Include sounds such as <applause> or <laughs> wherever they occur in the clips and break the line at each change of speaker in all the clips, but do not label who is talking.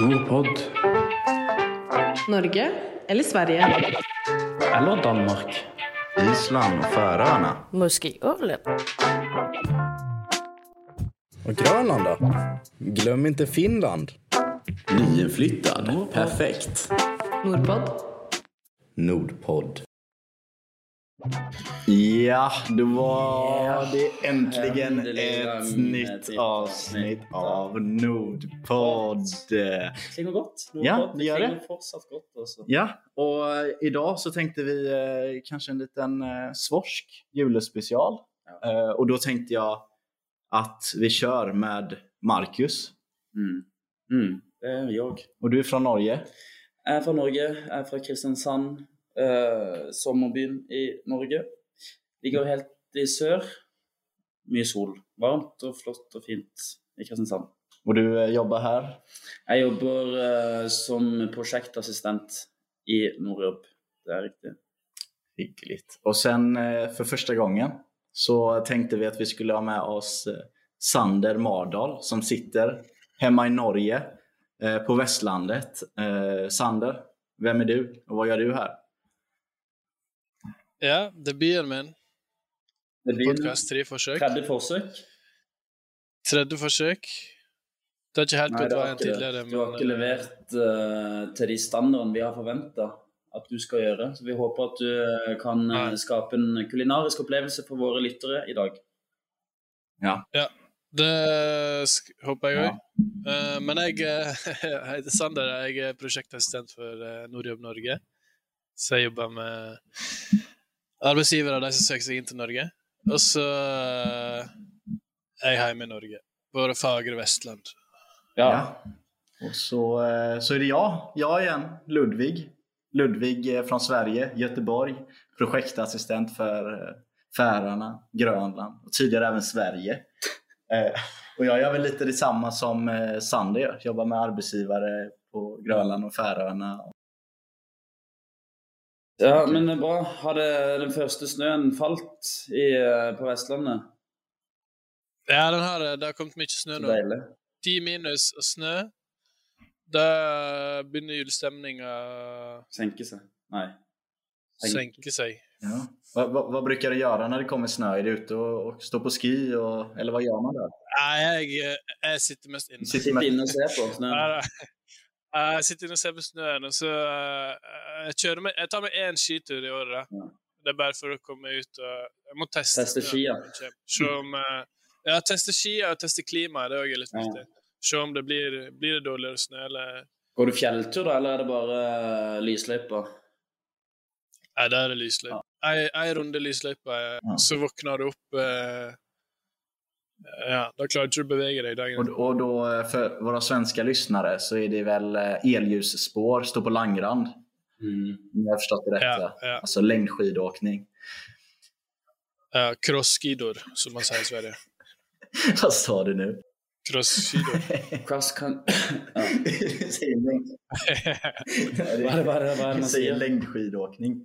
Nordpod
Norge eller Sverige?
eller Danmark?
Island og Færøyene.
Måske Åland.
Och Grönland då? Glöm inte Finland.
Nyinflyttad. Perfekt.
Nordpod?
Nordpodd.
Ja, då var det äntligen
Äntligen
ett
ett
nytt
nytt
avsnitt
avsnitt
av Nordpodd.
Klinger godt. Noe
Ja,
godt.
det gjør det.
klinger fortsatt godt. Altså.
Ja, och idag så tänkte vi eh, kanske en liten eh, svorsk julespecial.
Ja.
Eh, och då tänkte jag att vi kör med Marcus.
Mm. Mm. Det er vi òg.
Och du är från Norge.
Jeg er fra Norge. Jeg er fra Kristiansand. eh, sommerbyen i Norge. Ligger helt i sør. Mye sol. Varmt og flott og fint i Kristiansand.
Och du eh, jobbar här.
Jeg jobber eh, som prosjektassistent i Nordjobb. Det er riktig.
Hyggligt. Och sen eh, för första gången så tänkte vi att vi skulle ha med oss eh, Sander Mardal som sitter hemma i Norge eh, på Västlandet. Eh, Sander, vem är du och vad gör du här?
Ja, det begynner med en
Det blir
podkast. Tre forsøk.
tredje forsøk.
Tredje forsøk. Det har ikke helt
Nei,
gått
det har
veien
ikke det.
tidligere,
Du har
men eh,
ikke levert eh, til de standardene vi har forventa at du skal gjøre. Så vi håper at du eh, kan eh,
Nei.
skape en kulinarisk opplevelse for våre lyttere i dag.
det sk- håper jeg
Ja.
òg. Men jeg eh, <laughs> heter Sander, og jeg er prosjektassistent for eh, Nordjobb Norge. Så jeg jobber med arbeidsgivere og de som søker seg inn til Norge. Og så eh, er jeg hjemme i Norge, på det fagre Vestland.
Ja.
Och så, eh, så är det jag, jag igen, Ludvig. Ludvig eh, från Sverige, Göteborg, projektassistent för eh, Färöarna, Grönland och tidigare även Sverige. <laughs> Eh, Och jag gör väl lite detsamma som eh, Sander gör, jobbar med arbetsgivare på Grönland og Färöarna.
ja, men det er bra. Har det, den første snøen falt i, eh, på Vestlandet?
Ja, den har, det har kommet mye snø
Så
nå.
deilig.
Ti minus og snø. Da begynner julestemninga
Senke seg. Nei.
å senke seg.
Ja. Vad, vad, vad brukar du göra när det kommer snö? Är du ute och, och står på ski och, eller vad gör man där?
Nei, jeg, jeg sitter mest inne.
Sitter
Sitte inne og se på snøen.
Nei, nei. Jeg sitter inne og ser på snøen, og så eh, jeg kjører meg, jeg tar meg én skitur i året.
Ja.
da. Det er bare for å komme ut og Jeg må teste.
Teste
snøen
skia.
når den kommer. Se om eh, Ja, teste skia og teste klimaet, det er òg litt
Ja.
viktig. Se om det blir, blir det dårligere snø, eller
Går du fjelltur, da, eller er det bare eh, lysløyper?
Nei, der er lysløype. Ei, ei runde lysløype,
Ja.
så våkner du opp eh, Ja, da klarer du ikke å bevege deg dagen
Och, och då eh, för våra svenska lyssnare så är det väl eh, elljusspår, stå på langrand. Om jag har förstått det rätt.
Ja,
va?
ja.
Alltså längdskidåkning. <laughs>
ja Crossskidor, som man sier i Sverige.
Vad sa du nu?
Crossskidor. <laughs>
Cross kan... <coughs>
<laughs>
Ja.
Säg längd-
Hva er det, hva er det, hva er det man
Säg
sier?
längdskidåkning.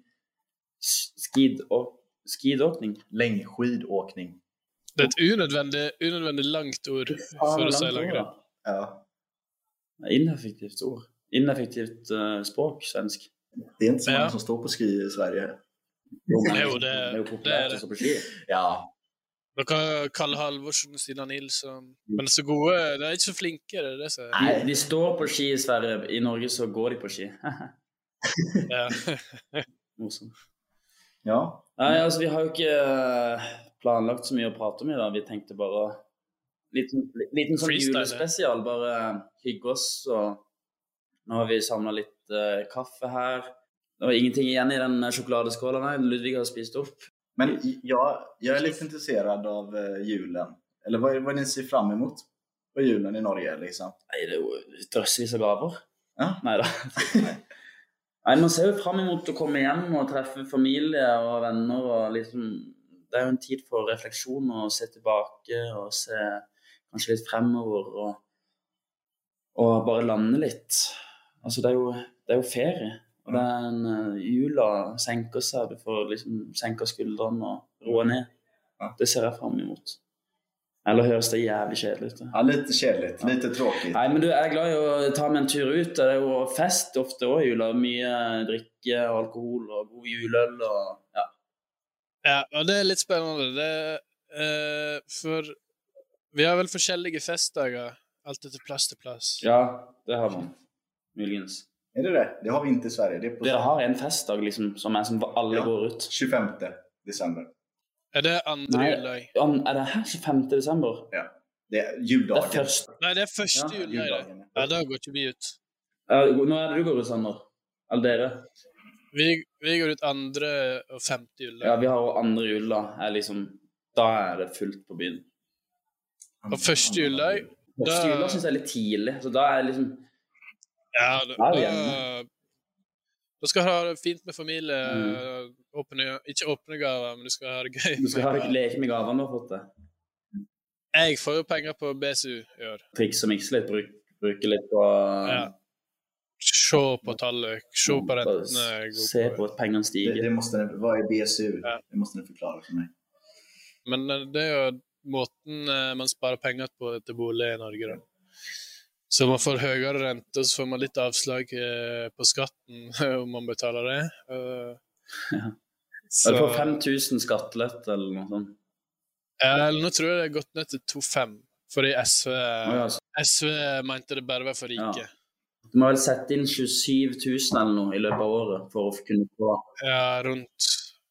Skid og skidåkning.
Längdskidåkning.
Det er et unødvendig, unødvendig langt ord for å si langrenn.
Ja,
Ineffektivt ord. Ineffektivt eh, språk, svensk.
det är inte så många
Ja.
som står på ski i Sverige.
Jo, det,
Det er jo
det er
populært å
det.
stå på ski.
Ja,
Dere Kalle Halvorsen, Stina Nilsson Men så gode De er ikke så flinke, det er det som er
De, de står på ski i Sverige. I Norge så går de på ski.
ja. <laughs>
Morsomt.
ja.
Nei, altså, vi har jo ikke eh, planlagt så mye å prate om i dag. Vi tenkte bare Liten, liten sånn
Freestyle.
julespesial. Bare eh, hygge oss. Og nå har vi samla litt eh, kaffe her. Det var ingenting igjen i den sjokoladeskåla, nei. Ludvig har spist opp.
Men jag, jag är lite intresserad av eh, julen. Eller vad, vad ni ser fram emot på julen i Norge liksom.
Nei, det er jo drøssevis av gaver.
Ja.
Neida. Nei da. <laughs> Nei, man ser jo fram imot å komme hjem og treffe familie og venner. og liksom, Det er jo en tid for refleksjon og å se tilbake og se kanskje litt fremover. Og, og bare lande litt. Altså, det er jo, det er jo ferie. Og det er en, eh, jula senker seg. Du får liksom senka skuldrene og roe ned.
Ja.
Det ser jeg fram imot. Eller høres det jævlig kjedelig ut? da?
Ja, lite kjedelig. Lite tråkigt.
Nei, men du, jeg er glad i å ta meg en tur ut. Det er jo fest ofte òg i jula. Mye drikke og alkohol og god juleøl og ja.
Ja, og det er litt spennende. Det, eh, for vi har vel forskjellige festdager, alt etter plass til plass.
ja, det har man. Muligens.
Är det det? Det har vi inte i Sverige. Det är på
Dere har en festdag liksom, som er som alle
Ja.
går ut.
25 december.
Er det andre
Nei.
juledag?
Ja, Er det her 25. desember?
Det är
Det er
juldagen.
første
Nei, det er første
Ja,
juledag. det.
ja.
Ja, da går ikke vi ut.
Ja, Nå er det du går ut, Sander. Eller dere.
Vi, vi går ut andre og femte
Ja,
juledag.
vi har jo andre jul, da. Er liksom, da er det fullt på byen.
Og første juledag
Første
Da-
jula syns jeg er litt tidlig, så da er det liksom
Ja, da,
Ja, vi er
da, da skal du ha det fint med familie.
Mm.
Åpne, ikke åpne gaver, men du skal ha det gøy.
Du skal ha leke med gavene du har fått. det.
Jeg får jo penger på BSU i år.
Trikse og mikse litt, bruk, bruke litt på
Ja. Se på tallet, se på eh, rentene. gå
Se
på-
på at pengene
Det, det
stiger.
måste, ni- vad är BSU?
Ja.
Det måste ni förklara för mig.
Men eh, det er jo måten eh, man sparer penger på til bolig i Norge, da. Så man får høyere rente, og så får man litt avslag eh, på skatten <laughs> om man betaler det. Eh,
Ja.
Så,
Du får 5000 skattelette eller noe sånt.
eller nå tror jeg det er gått ned til 2,5, fordi SV,
Å ja, så
SV mente det bare var for rike.
Du må vel sette inn 27 000 eller noe i løpet av året for å kunne få
Ja, rundt,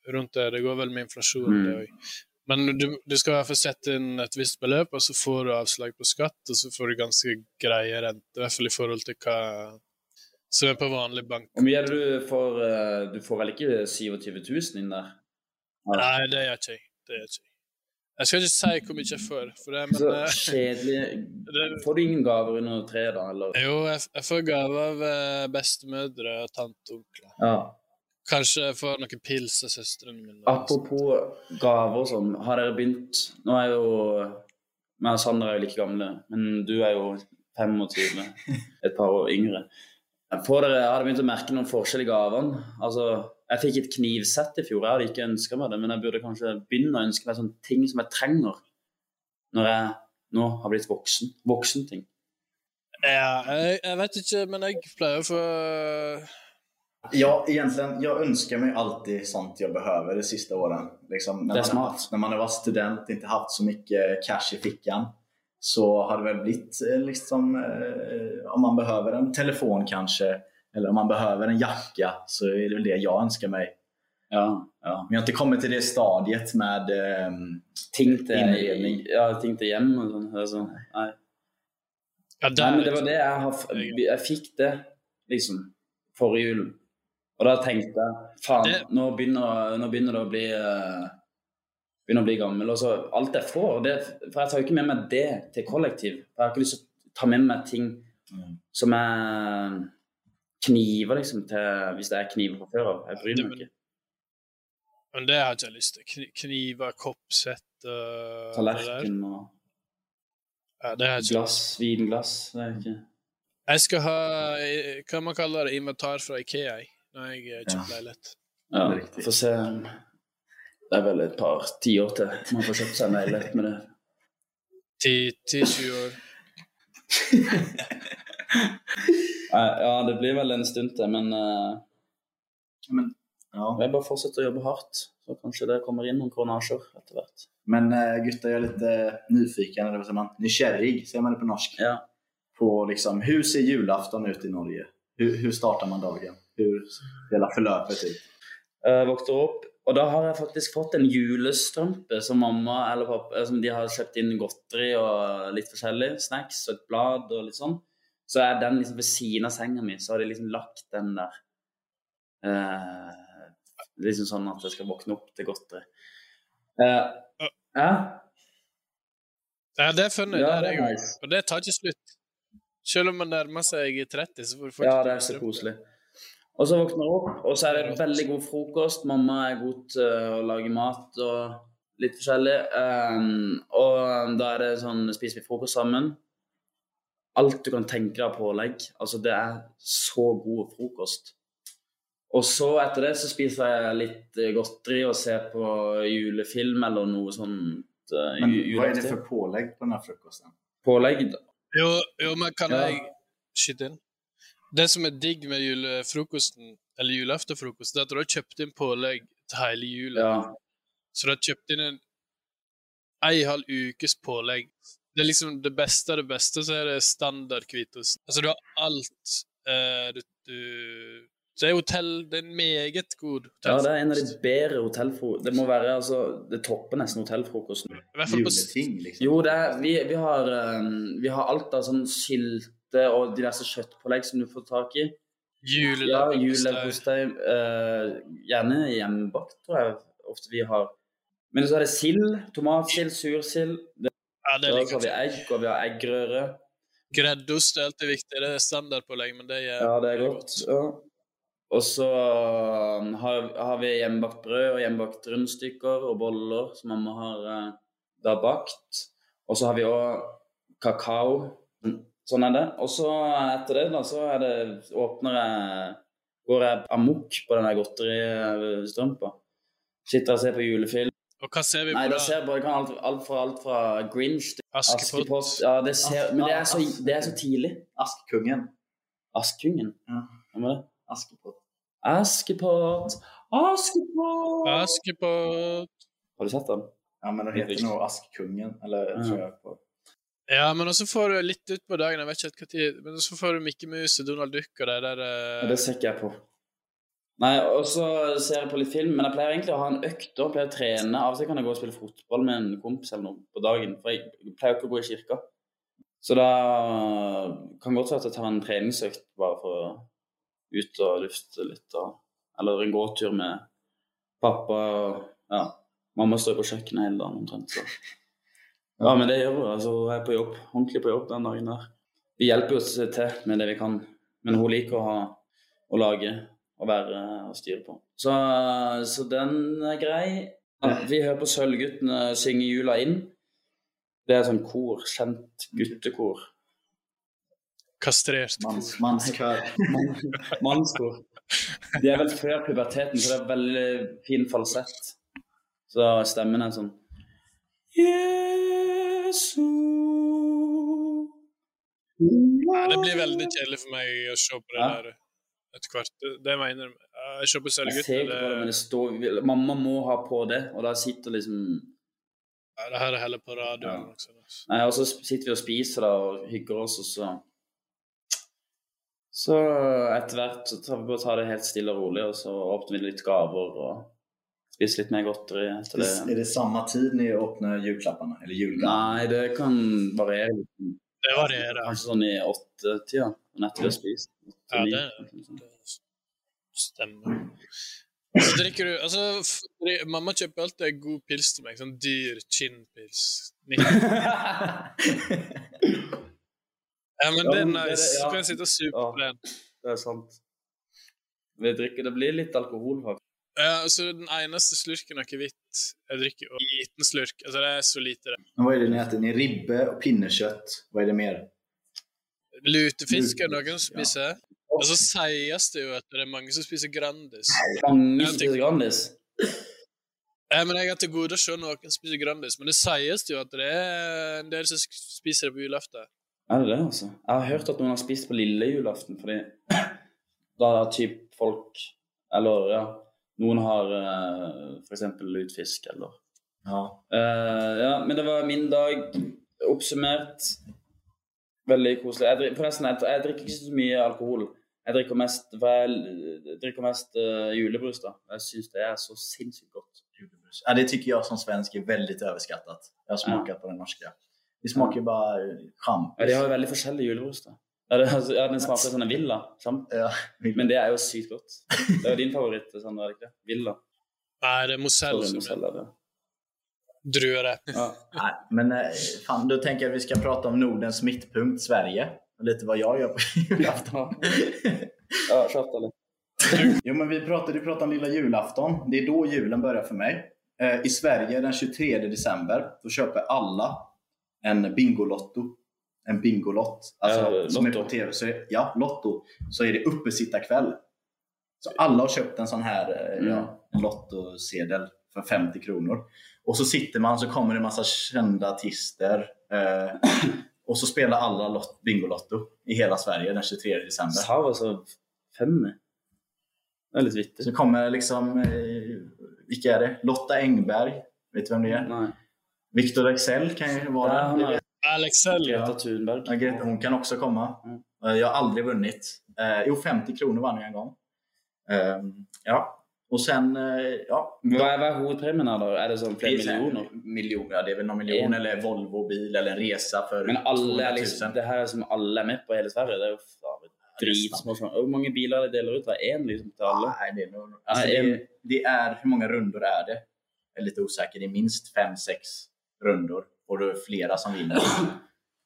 rundt det. Det går vel med inflasjon,
Mm.
det òg. Men du, du skal i hvert fall sette inn et visst beløp, og så får du avslag på skatt, og så får du ganske greie rente, i hvert fall i forhold til hva som er på vanlig bank.
Hvor mye er det du får eh, Du får vel ikke 27 000 inn der?
Nei, det gjør ikke jeg. Det gjør ikke jeg. Jeg skal ikke si hvor mye jeg får, for det, men
Så
eh,
kjedelig
det,
Får du ingen gaver under treet, da? Eller?
Jo, jeg, jeg får gave av eh, bestemødre og tante og onkler.
Ja.
Kanskje jeg får noen pils av søstrene mine.
Apropos gaver og sånn, har dere begynt Nå er jo meg og Sander er jo like gamle, men du er jo 25, et par år yngre. Får dere, har dere begynt å merke noen forskjell i gavene? Altså, jeg fikk et knivsett i fjor, jeg hadde ikke ønska meg det, men jeg burde kanskje begynne å ønske meg sånne ting som jeg trenger når jeg nå har blitt voksen. Voksenting.
Ja, jeg, jeg vet ikke, men jeg pleier å få
Ja, egentligen. Jag önskar mig alltid sånt jag behöver de sista åren. Liksom, när,
Det är
man,
smart.
har haft- när man har varit student, inte haft så mycket cash i fickan, så har det väl blivit eh, liksom, eh, om man behöver en telefon kanske, eller om man behöver en jacka, så är det väl det jag önskar mig.
Ja, ja.
Men jag har inte kommit till det stadiet med ehm,
ting til,
Innredning.
ja, ting til hjem og sånn. Det er sånn, Nei.
Ja,
Nei,
der,
men det var det jeg har f- Jeg fikk det liksom forrige jul. Og da tenkte jeg faen,
Det-
nå begynner, nå begynner det å bli eh, Begynner å bli gammel. Og så alt jeg får det, For jeg tar jo ikke med meg det til kollektiv. Jeg har ikke lyst til å ta med meg ting
Mm.
som er kniver, liksom, til, hvis det er kniver fra før av. Jeg bryr meg ikke.
men det har ikke jeg lyst til. Kni- Kniver, koppsett og det der.
Tallerken og
Ja, det har jeg ikke.
glass, vinglass Det er ikke
Jeg skal ha eh, hva man kaller det, inventar fra Ikea jeg, når jeg eh,
Ja.
kjøper leilighet.
Ja,
Det er riktig.
får se. Det er vel et par tiår til man får kjøpt seg en leilighet med det.
10-20 år.
Eh, Ja, det blir vel en stund til, men eh,
ja.
jeg bare fortsetter å jobbe hardt. Så kanskje det kommer inn noen kronasjer etter hvert.
Men eh, gutta, jag är lite nyfiken, eller vad säger man? Nykärig, säger man det på norsk?
Ja.
på liksom, hur ser julafton ut i Norge? Hur, hur startar man dagen? Hur hela förlöpet ut?
Eh, våkner opp, og da har jeg faktisk fått en julestrømpe som mamma eller pappa eh, som de har kjøpt inn godteri og litt forskjellig. Snacks og et blad og litt sånn. Så er den liksom ved siden av senga mi, så har de liksom lagt den der. Eh, liksom sånn at jeg skal våkne opp til godteri. Eh, ja,
Ja, det er funnet.
Ja,
der
det er
jeg også.
nice.
Og det tar ikke slutt. Selv om man nærmer seg 30, så får du
ja, det er så koselig. Og så våkner jeg opp, og så er det veldig god frokost. Mamma er god til eh, å lage mat og litt forskjellig. Ehm, og da er det sånn spiser vi frokost sammen. Alt du kan tenke deg av pålegg. Altså, det er så god frokost. Og så etter det så spiser jeg litt eh, godteri og ser på julefilm eller noe sånn eh,
Men
ju-
vad är det
julafton.
för pålägg på den här frukosten?
Pålegg, da.
Jo, jo men kan
Ja.
jeg skyte inn? Det som er digg med julefrokosten, eller julaftenfrokost, det er at du har kjøpt inn pålegg til hele julen.
Ja.
Så du har kjøpt inn en ei halv ukes pålegg. Det er liksom det beste av det beste, så er det standard hvitost. Altså, du har alt eh, du, du Det er hotell Det er en meget god
ja, det er en av
hotellfrokost.
de bedre hotellfrokost... Det må være altså Det topper nesten hotellfrokosten.
I hvert fall på s-
Juleting liksom.
Jo, det er, vi, vi, har, eh, vi har alt av sånn skilte og diverse kjøttpålegg som du får tak i. Ja,
julelefrokost.
juleverkostei. eh, gjerne hjemmebakt, tror jeg ofte vi har. Men så er det sild. Tomatsild, sursild. Det,
Ja, det
da
liker
har vi
jeg.
egg, og vi har eggerøre.
Greddost er alltid viktig. Det er standardpålegg, men det er
Ja, det er godt. Ja. Og så um, har, har vi hjemmebakt brød og hjemmebakt rundstykker og boller som mamma har eh, da bakt. Og så har vi òg kakao. Sånn er det. Og så etter det, da, så er det åpner jeg Går jeg amok på den der godteristrømpa. Sitter og ser på julefilm.
Og hva ser vi på
Nei, da
da?
ser jeg bare jeg kan alt, alt, fra, alt fra Grinch til
Askepott.
Askepott. Ja, det ser, men det er, så, det er så tidlig.
Askkungen.
Askungen.
Ja.
Hva var det?
Askepott.
Askepott, Askepott
Askepott
Har du sett den?
Ja men den heter nog Askkungen. Eller
Ja.
tror jag på.
Ja, men også får du litt utpå dagen, jeg vet ikke helt hva tid Men så får du Mikke Mus og Donald Duck og de der eh,
Det ser ikke jeg på. Nei, og så ser jeg på litt film, men jeg pleier egentlig å ha en økt og pleier å trene. Av og til kan jeg gå og spille fotball med en kompis eller noe på dagen, for jeg pleier jo ikke å gå i kirka. Så da kan godt være at jeg tar en treningsøkt bare for å ut og lufte litt, og, eller en gåtur med pappa og ja. Mamma står på kjøkkenet hele dagen omtrent, så Ja, men det gjør hun. Altså, hun er på jobb, ordentlig på jobb den dagen der. Vi hjelper jo oss til med det vi kan, men hun liker å ha å lage og være og styre på. Så, så den er grei. Ja, vi hører på Sølvguttene synge jula inn. Det er sånn kor, kjent guttekor.
kastrert.
Mans,
<laughs>
manskör.
Mann- Mannskor. De er vel før puberteten, så det er veldig fin falsett. Så stemmen er sånn Jesu
Ja, det blir veldig kjedelig for meg å se på det
Ja.
der etter hvert. Det- Det mener jeg. Ja, Jeg ser på
Jeg ser ikke på det,
Sølvgutten.
men
Det,
det står Mamma må ha på det, og da sitter liksom
ja, det her er heller på radioen.
Ja.
Også. altså.
Nei, og så sitter vi og spiser da og hygger oss, og så Så etter hvert så tar vi bare tar det helt stille og rolig, og så åpner vi litt gaver og spiser litt mer godteri etter det.
Är det samma tid ni öppnar julklapparna? Eller julklappar?
Nei, det kan variere litt.
Det varierer. altså.
Kanskje sånn i åttetida, men etter vi har spist.
Ja, det
Åtte-ni. sånn.
Stemmer. Så drikker du altså, f- dri- Mamma kjøper alltid en god pils til meg. Sånn dyr kinnpils. Nitt- Ja, men
Ja,
det er
men det er-
nice. Så
ja.
kan jeg sitte og supe
Ja.
på den.
Det er sant. Vi drikker, det blir litt alkohol, faktisk.
Ja, altså, den eneste slurken akevitt jeg drikker, og en liten slurk Altså, det er så lite, det.
Men vad är det ni äter? Ni ribbe och pinnekött. Vad är det mer?
Lutefisk er det noen som spiser. Og så sies det jo at det er mange som spiser Grandis.
Mange
Ja,
som
tenk-
spiser Grandis.
Ja, men Jeg har til gode å se noen spise Grandis, men det sies jo at det er en del som sk- spiser det på julaften.
Er det det, altså? Jeg har hørt at noen har spist på lille julaften, fordi <clears throat> da er typ folk Eller ja, noen har eh, for eksempel lutfisk, eller
Ja.
Eh, Ja, men det var min dag oppsummert. Veldig koselig. Jeg drikker, forresten, jeg, jeg drikker ikke så mye alkohol. Jeg drikker mest, vel, jeg drikker mest eh, julebrus, da. Jeg syns det er så sinnssykt godt.
Julebrus. Ja, det tycker jag som svensk är väldigt överskattat. Jag har smakat på den norska. Det smakar ju bara eh,
Ja,
champis.
de har jo veldig forskjellig julebrus, da. Ja, det, altså, ja, den smaker sånn en villa. sant?
Ja,
Men det er jo sykt godt. Det er jo din favoritt, Sander, er det ikke det? Villa.
Nei, det er Mozell
Sorry,
som
må
er
selge det.
drueretten.
Ja.
Nej, men eh, fan, då tänker jag att vi ska prata om Nordens mittpunkt, Sverige. Och lite vad jag gör på <laughs> julafton.
<laughs> Ja, kjapt, eller?
Jo, men vi pratade, du pratade om lilla julafton. Det är då julen börjar för mig. Eh, I Sverige den 23 december, då köper alla en Bingolotto. En Bingolott. Alltså,
Ja,
som är
Eh, Lotto.
på TV. Så är, ja, Lotto. Så är det uppesittarkväll. Så alla har köpt en sån här eh,
Mm.
ja, en Lottosedel för 50 kronor. Och så sitter man så kommer det en massa kända artister. Eh, och så spelar alla lot- Bingolotto i hela Sverige den 23 december.
Sav altså fem. Det er litt vittig.
Så kommer liksom, eh, vilka är det? Lotta Engberg, vet du vem det är?
Nei.
Viktor Leksell kan ju
Det er
vara
han
det.
der,
Alex L.
Greta Thunberg.
Ja, Greta, hon kan också komma.
Mm.
Eh, Jag har aldrig vunnit. Eh, Jo, 50 kronor vann jag en gång. Eh, Ja, och sen, eh, ja.
Men Hva er, hva er hovedpremien her, da? Er det sånn flere millioner?
Miljoner, ja, det är väl någon miljon
En.
eller Volvo-bil eller en resa för
Men alle
200
er
000.
liksom, det her er som alle er med på i hele Sverige. Det er jo faen dritsmå sånn. Hvor mange biler er det deler ut? Det er én liksom til alle.
Nej, det är nog... Alltså,
Nej, en.
det, det är, hur många rundor är det? Jag är lite osäker. Det är minst fem, sex rundor och det är flera som vinner.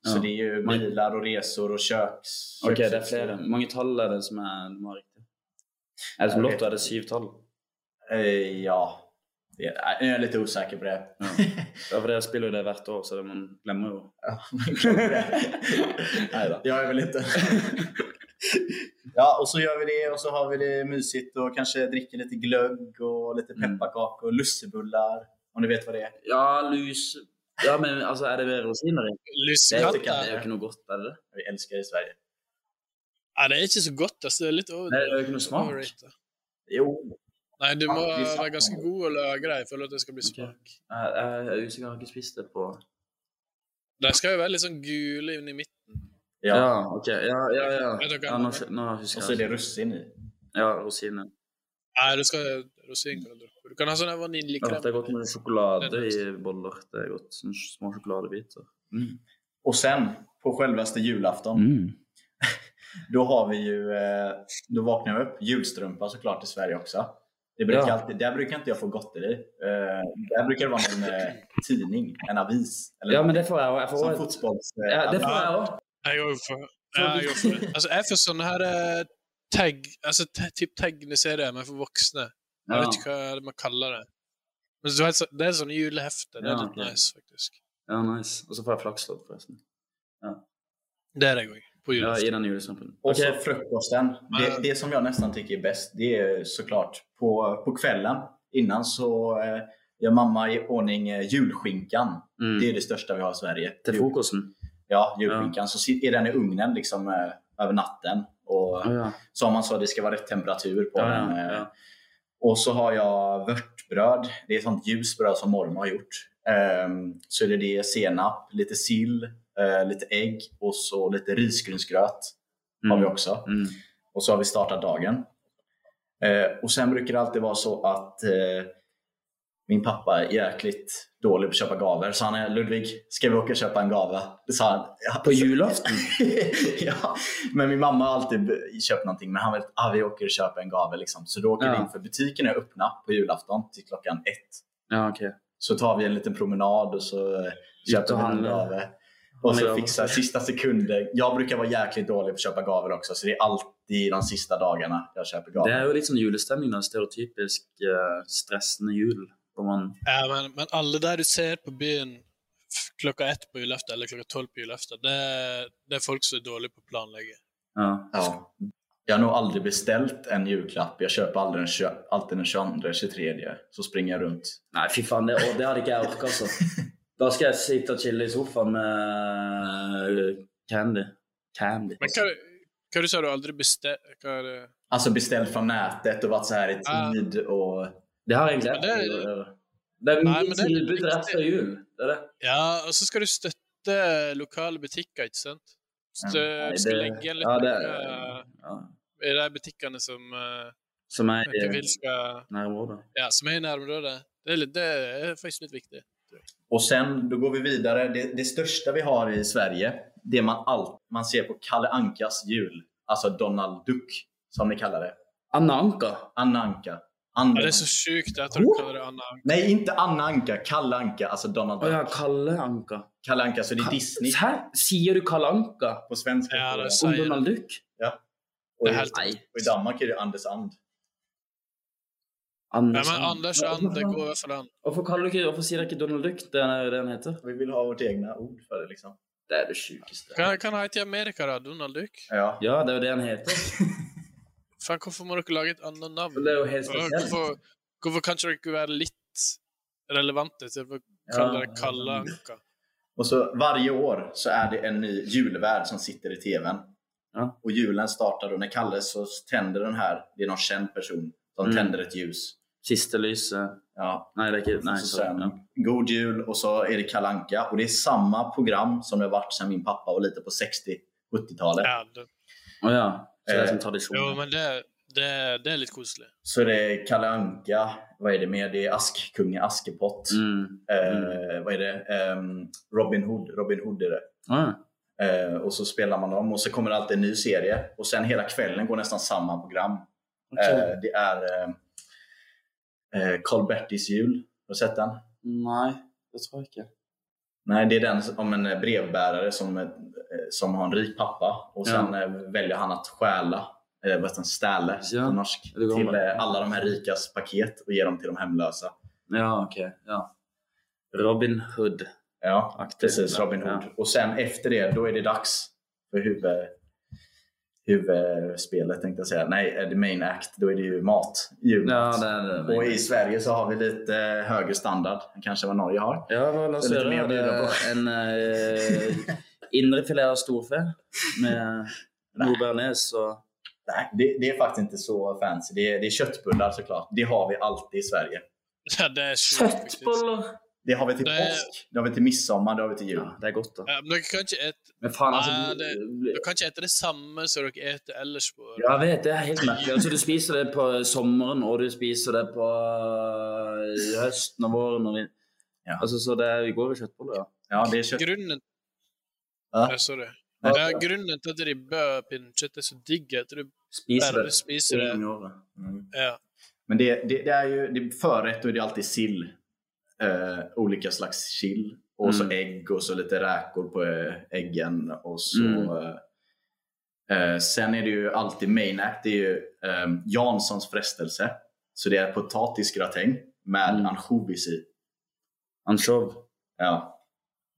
Så
Ja.
det är ju
Men-
bilar och resor och köks...
Ok, det er
köksutstyr.
flere. Hvor mange tall er det som er må være riktig? Er det som Lotto, er det syv tall?
Eh, Ja. Det är, nej, jag är lite osäker på det.
<laughs> Ja. Ja, for dere spiller jo det hvert år, så det man glemmer jo.
<laughs> Nej då. Jag är väl inte... <laughs> Ja, och så gör vi det och så har vi det mysigt och kanske dricker lite glögg och lite
Mm.
pepparkakor och lussebullar. Om ni vet vad det är.
Ja, lus Ja, men altså, er det med rosiner i? Det er, jo ikke, det er jo
Lussekatter.
ikke noe godt, er det det?
Vi älskar i Sverige.
Ja, det er ikke så godt, altså. Det er litt over...
Det er jo ikke noe smak.
overrated.
Jo,
Nei, du må
Ja, det er sant.
være ganske god og lage deg for at det skal bli
Ok.
smak.
Jeg, jeg er usikker, jeg har ikke spist det på
De skal jo være litt sånn gule inni midten.
Ja.
Ja, ok. Ja, ja, ja.
Vet dere-
ja nå, skj- nå
Och så
husker
är
jeg.
det russin i.
Ja, rosiner.
Nei, du skal rosin kan du droppe. Du kan ha sånn her
Ja, det er godt
vaniljekrem.
med sjokolade i boller. Det er godt. Sånne små sjokoladebiter.
Och sen, på självaste julafton,
Mm.
då har vi ju... eh, Då vaknar jag upp. Julstrumpa såklart i Sverige också. Det brukar
Ja.
alltid, där brukar inte jag få gotteri. Eh, Där brukar det vara någon eh, tidning, en avis. Eller
Ja,
något.
men det får jeg òg. Jeg får
Som
også et-
fotbolls... eh,
ja, det får jeg òg.
Jeg går for,
Sånn
ja, jeg går for det.
<laughs>
Altså, jeg får sånne her eh, tag, altså te- typ tegneserier, men for voksne. Jeg
Ja.
vet ikke hva man kaller det. Men så, er det så- det er sånne julehefter. Det er
Ja,
litt
ok.
nice, faktisk.
ja, nice. Og så får jeg flakslodd, forresten.
Det er jeg òg.
Ja,
På
I
julaften.
den julesnampen.
Och
Ok,
så frukosten. Det, det som jag nästan tycker är bäst, det är såklart på, på kvällen innan så eh, gör mamma i ordning eh, julskinkan.
mm.
Det är det största vi har i Sverige.
Til
Jul-
frokosten.
Ja, julskinkan. Så sit- är den i ugnen liksom, eh, över natten. Och
Å ja.
som man sa, det ska vara rätt temperatur på
Ja, ja,
den. eh.
ja.
Och så har jag vörtbröd. Det är sånt ljust bröd som mormor har gjort. Ehm, så är det det senap, lite sill, eh, lite ägg och så lite risgrynsgröt har vi också.
Mm.
Och så har vi startat dagen. Eh, och sen brukar det alltid vara så att eh, min pappa är jäkligt dålig på att köpa gaver. Så han är Ludvig, ska vi åka och köpa en gava? Det sa han. Ja,
På julaften?
<laughs> ja. Men min mamma har alltid b- köpt någonting. Men han vet att ah, vi åker och köper en gava. Liksom. Så då åker vi
Ja.
in för butiken är öppna på julafton till klockan ett.
Ja, ok.
Så tar vi en liten promenad och så eh, köper
och
vi en
handlar.
gave. Och
Handlar
så
av
fixar
oss.
sista sekunden. Jag brukar vara jäkligt dålig på att köpa gaver også, så det är alltid de sista dagarna jag köper gaver.
Det er jo litt sånn julestemning, da. Stereotypisk eh, stressende jul. Hvor man
Ja, men, men alle der du ser på byen f- klokka ett på julaften eller klokka tolv på julaften, det, er- det er folk som er dårlige på å planlegge.
Ja.
Ja. Jag har nog aldrig beställt en julklapp. Jag köper aldrig den, tjo- alltid den 22, 23. Så springer jag runt.
Nei, fy faen, det, å, det hadde ikke jeg orka, altså. Da skal jeg sitte og chille i sofaen med eh, candy. Candy.
Men hva, hva du sa du aldri bestemte Hva er det?
Alltså beställt från Altså, nätet och varit så här i
Ah.
tid. Och...
Det har egentlig
Men det er-
jeg ikke gjort. Det er
Nei, men
mye
det er litt
tilbud rett
viktig.
før jul. Det er det.
Ja, og så skal du støtte lokale butikker, ikke sant? Så
Nei,
du skal
det-
legge igjen litt
ja, det,
penger,
ja,
eh, i de butikkene som eh,
Som er
du ikke
i
vil skal
nærområdet.
Ja, som er i nærområdet. Det er, litt, det er faktisk litt viktig.
Och sen då går vi vidare. Det, det största vi har i Sverige, det man allt man ser på Kalle Ankas jul. Alltså Donald Duck, som ni kallar det.
Anna Anka.
Anna Anka.
Ja,
Anna.
det er så sjukt at du kaller det Anna Anka.
Nej, inte Anna Anka. Kalle Anka, alltså Donald
Å
Duck.
ja, Kalle Anka.
Kalle Anka, så det är Disney
Hæ? Sier du Kalle Anka
på svenska.
Ja, det är så.
om
Sier det.
Donald Duck?
och,
Det
i,
är helt-
Nei.
och i Danmark är det Anders And.
Ja,
Anders
men Anders
Hva-
And, det
hvorfor-
går i hvert fall an.
Hvorfor, kaller du ikke, hvorfor sier dere ikke Donald Duck? Det er det han heter.
Vi vill ha vårt egna ord för det liksom.
Det er det sjukeste.
Hva hva han heter i Amerika, da? Donald Duck?
Ja.
Ja, det er jo det han heter.
Faen, hvorfor må dere lage et annet navn?
Det er jo helt
Og
spesielt.
Hvorfor, hvorfor kan ikke dere være litt relevante til å
Ja.
kalle det kalde anker.
Och så varje år så är det en ny julvärd som sitter i tvn.
Ja.
Och julen startar då när Kalle så tänder den här, det är någon känd person som
Mm.
tänder ett ljus.
Siste lyset
Ja.
Nei, det er ikke nei,
så
sorry.
sen,
Ja.
God jul och så är det Kalle Anka och det är samma program som det har varit sedan min pappa var liten på 60-70-talet.
Ja, det,
Å ja. Så det er som
jo,
tradisjon.
men det, det, det er litt koselig. <laughs>
Så det är Kalle Anka, vad är det mer? Det är Askkungen Askepott.
Mm.
Eh, vad är det? Ehm, Robin Hood. Robin Hood är det.
Å ja.
Eh, och så spelar man dem och så kommer det alltid en ny serie. Och sen hela kvällen går nästan samma program.
Ok.
Eh, det är eh, eh, Carl Bertis jul. Har du sett den?
Nei, det tror jeg ikke.
Nej, det är den om en eh, brevbärare som, eh, som har en rik pappa och sen eh, väljer han att stjäla, eh, vad heter det, stäle
Ja,
på norsk,
det går
till
med.
eh, alla de här rikas paket og ge dem till de hemlösa.
Ja, ok. Ja. Robin Hood.
Ja,
Aktivt,
precis.
ja.
Robin Hood. Och sen efter det, då är det dags för huvud, huvudspelet tänkte jag säga. Nej, eh, the main act. Då är det ju mat.
Ja,
Julmat.
det er det.
och i Sverige så har vi lite eh, högre standard än kanske vad Norge har.
Ja, hva, la oss
Det er
gjøre
litt mye å
det.
bjuda
En uh, indrefilet av storfe med nordbærnes og
Nej, det, det är faktiskt inte så fancy. Det är, det är köttbullar såklart. Det har vi alltid i Sverige.
Ja, det er sjukt, faktisk.
Kjøttboller!
Det har vi till
Det-
påsk, det har vi till midsommar, det har vi till jul.
Ja, det er godt, da.
Ja, men dere kan ikke et,
Men faen,
Eh, Nei,
altså
det-
bli-
dere kan ikke ete det samme som dere eter ellers på året.
Ja, jeg vet, det er helt merkelig. Altså, du spiser det på sommeren, og du spiser det på eh, høsten og våren. Og vin-
Ja.
Altså, så det er, vi går i kjøttboller, ja.
Ja, det är kött.
Grunnen
Ja.
Ja, Sorry.
Ja.
Ja, grunnen til at ribbepinnkjøtt er så digg, er at du
Spiser
bare
det.
spiser det.
Mm.
Ja.
Men det, det, det är ju det är förrätt och det är alltid sill. Eh, olika slags sill. Och så
Mm.
ägg och så lite räkor på eh, äggen. Och så,
Mm.
eh, eh, sen är det ju alltid main act. Det är ju eh, Janssons frestelse. Så det är potatisgratäng med
Mm.
ansjovis i.
Ansjov.
Ja.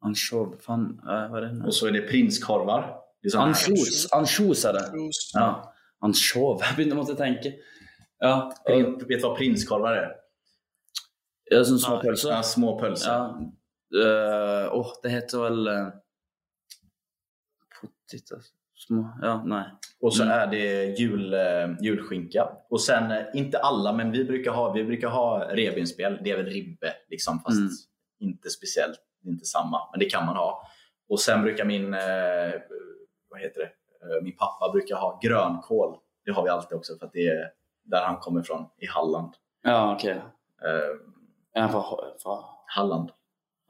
Ansjov, faen, eh, hva er det? nå?
Och så är det prinskorvar. Det sånn är såna här-
Ansjos, ansjos er det.
Kos.
Ja. Ansjov. Jeg begynte å måtte tenke. Ja, og,
Prin, vet du vad prinskorvar är?
ja sånn små pølser.
Ja, små pölser.
Ja. Eh, Åh, det heter vel uh, Poteter Små Ja, nei.
Och så
Mm.
är det jul, eh, julskinka. Och sen, eh, inte alla, men vi brukar ha, vi brukar ha revbensspjäll. Det är väl ribbe, liksom, fast
Mm.
inte speciellt, inte samma. Men det kan man ha. Och sen brukar min, eh, vad heter det, Eh, min pappa brukar ha grönkål. Det har vi alltid också för att det är där han kommer ifrån, i Halland.
Ja, OK.
Eh,
Jeg er fra, Ho- fra
Halland.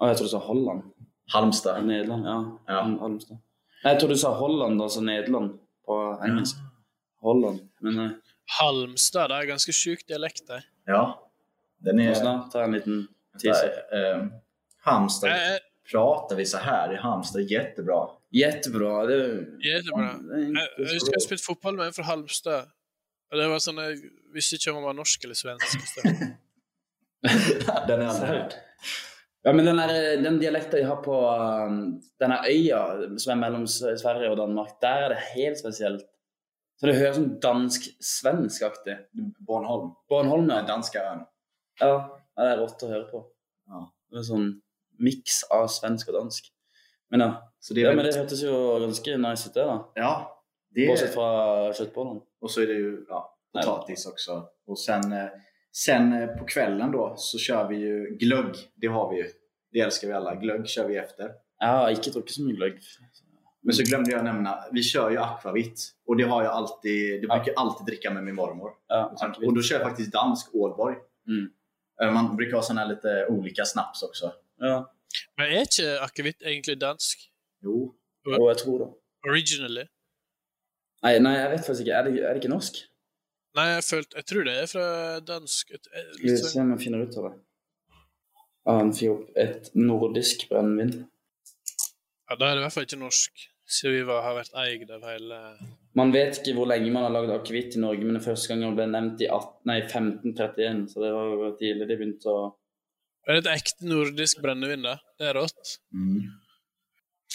Å, jeg tror du sa Holland. Ja,
Halmstad.
Nederland, ja.
Ja.
Mm, Halmstad. Nei, jeg tror du sa Holland, altså Nederland på engelsk. Holland. Men eh,
Halmstad, det er ganske sjuk dialekt der.
Ja. Den
må
är...
snart ta en liten teaser.
Där, eh, Halmstad
Jeg,
pratar vi så här i Halmstad jättebra.
Jättebra. Det,
Jättebra. jeg, jeg husker jeg spilte fotball med en fra Halmstad. Og det var sånn, Jeg visste ikke om han var norsk eller svensk.
Den är aldrig hörd.
Ja, men den, der, eh, den dialekten jeg har på um, denne øya som er mellom S- Sverige og Danmark, der er det helt spesielt. Så det høres sånn dansk-svensk-aktig.
Bornholm.
Bornholm,
Den
ja.
danska ön.
ja. Det er rått å høre på.
Ja.
Det er sånn miks av svensk og dansk. Men ja.
Så
ja men det hørtes jo ganske nice ut, det, da.
ja, det
Bortsett fra kjøttbollene.
Och så är det ju ja,
Nej.
potatis också. Och sen, eh, sen eh, på kvällen då så kör vi ju glögg. Det har vi ju. Det älskar vi alla. Glögg kör vi efter.
Jeg har ikke drukket så mye gløgg.
Men så glömde jag nämna, vi kör ju akvavitt. Och det har jag alltid, det brukar jag alltid dricka med min mormor.
Ja,
Och då kör jag faktiskt dansk Ålborg.
Mm.
Eh, Man brukar ha såna här lite olika snaps också.
Ja.
Men er ikke akevitt egentlig dansk?
Jo.
Og jeg tror det.
Originally?
Nei, nei, jeg vet faktisk ikke. Er det, er det ikke norsk?
Nei, jeg, følte, jeg tror det er fra dansk et, et,
Skal vi se om jeg finner ut av det. Ja, han fikk opp et nordisk brennevin.
ja, Da er det i hvert fall ikke norsk, siden vi var, har vært eid av hele
Man vet ikke hvor lenge man har lagd akevitt i Norge, men den første gangen ble nevnt i 18, nei, 1531, så det var jo tidlig de begynte å
Er det et ekte nordisk brennevin, da? Det er rått.
Mm.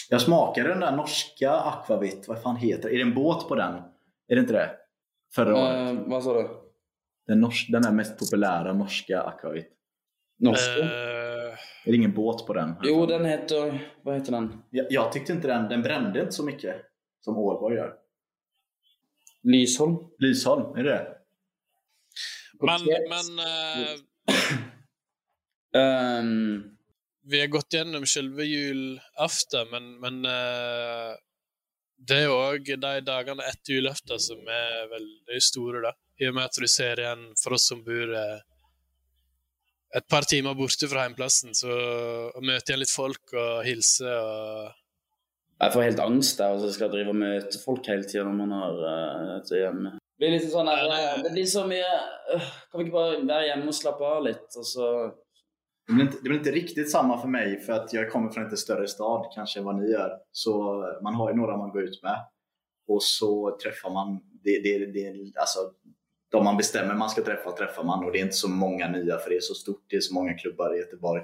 Jag smakade den där norska akvavitt. Vad fan heter det? Är det en båt på den? Är det inte det? Förra året.
Eh, Hva sa du?
Den, nors- den där mest populära norska akvavitt.
Norske?
Eh,
Är det ingen båt på den?
jo, den heter Hva heter den?
Jag, jag tyckte inte den, den brände inte så mycket som Ålborg gör.
Lysholm?
Lysholm, är det det?
På
men
tre-
men eh,
Ehm,
vi har gått gjennom selve julaften, men, men eh, det er òg de dagene etter julaften som er veldig store, da. I og med at du ser igjen for oss som bor eh, et par timer borte fra heimplassen, så å møte igjen litt folk og hilse og
jeg får helt angst der, og så skal jeg drive og møte folk hele tida når man har eh, et hjemme. Det blir liksom sånn der,
Ja, det-
eh, Det blir så mye øh, Kan vi ikke bare være hjemme og slappe av litt, og så
Det blir, inte, det blir inte riktigt samma för mig för att jag kommer från en lite större stad kanske än vad ni gör. Så eh, man har ju några man går ut med och så träffar man det, det, det, alltså, de man bestämmer man ska träffa träffar man och det är inte så många nya för det är så stort. Det är så många klubbar i Göteborg.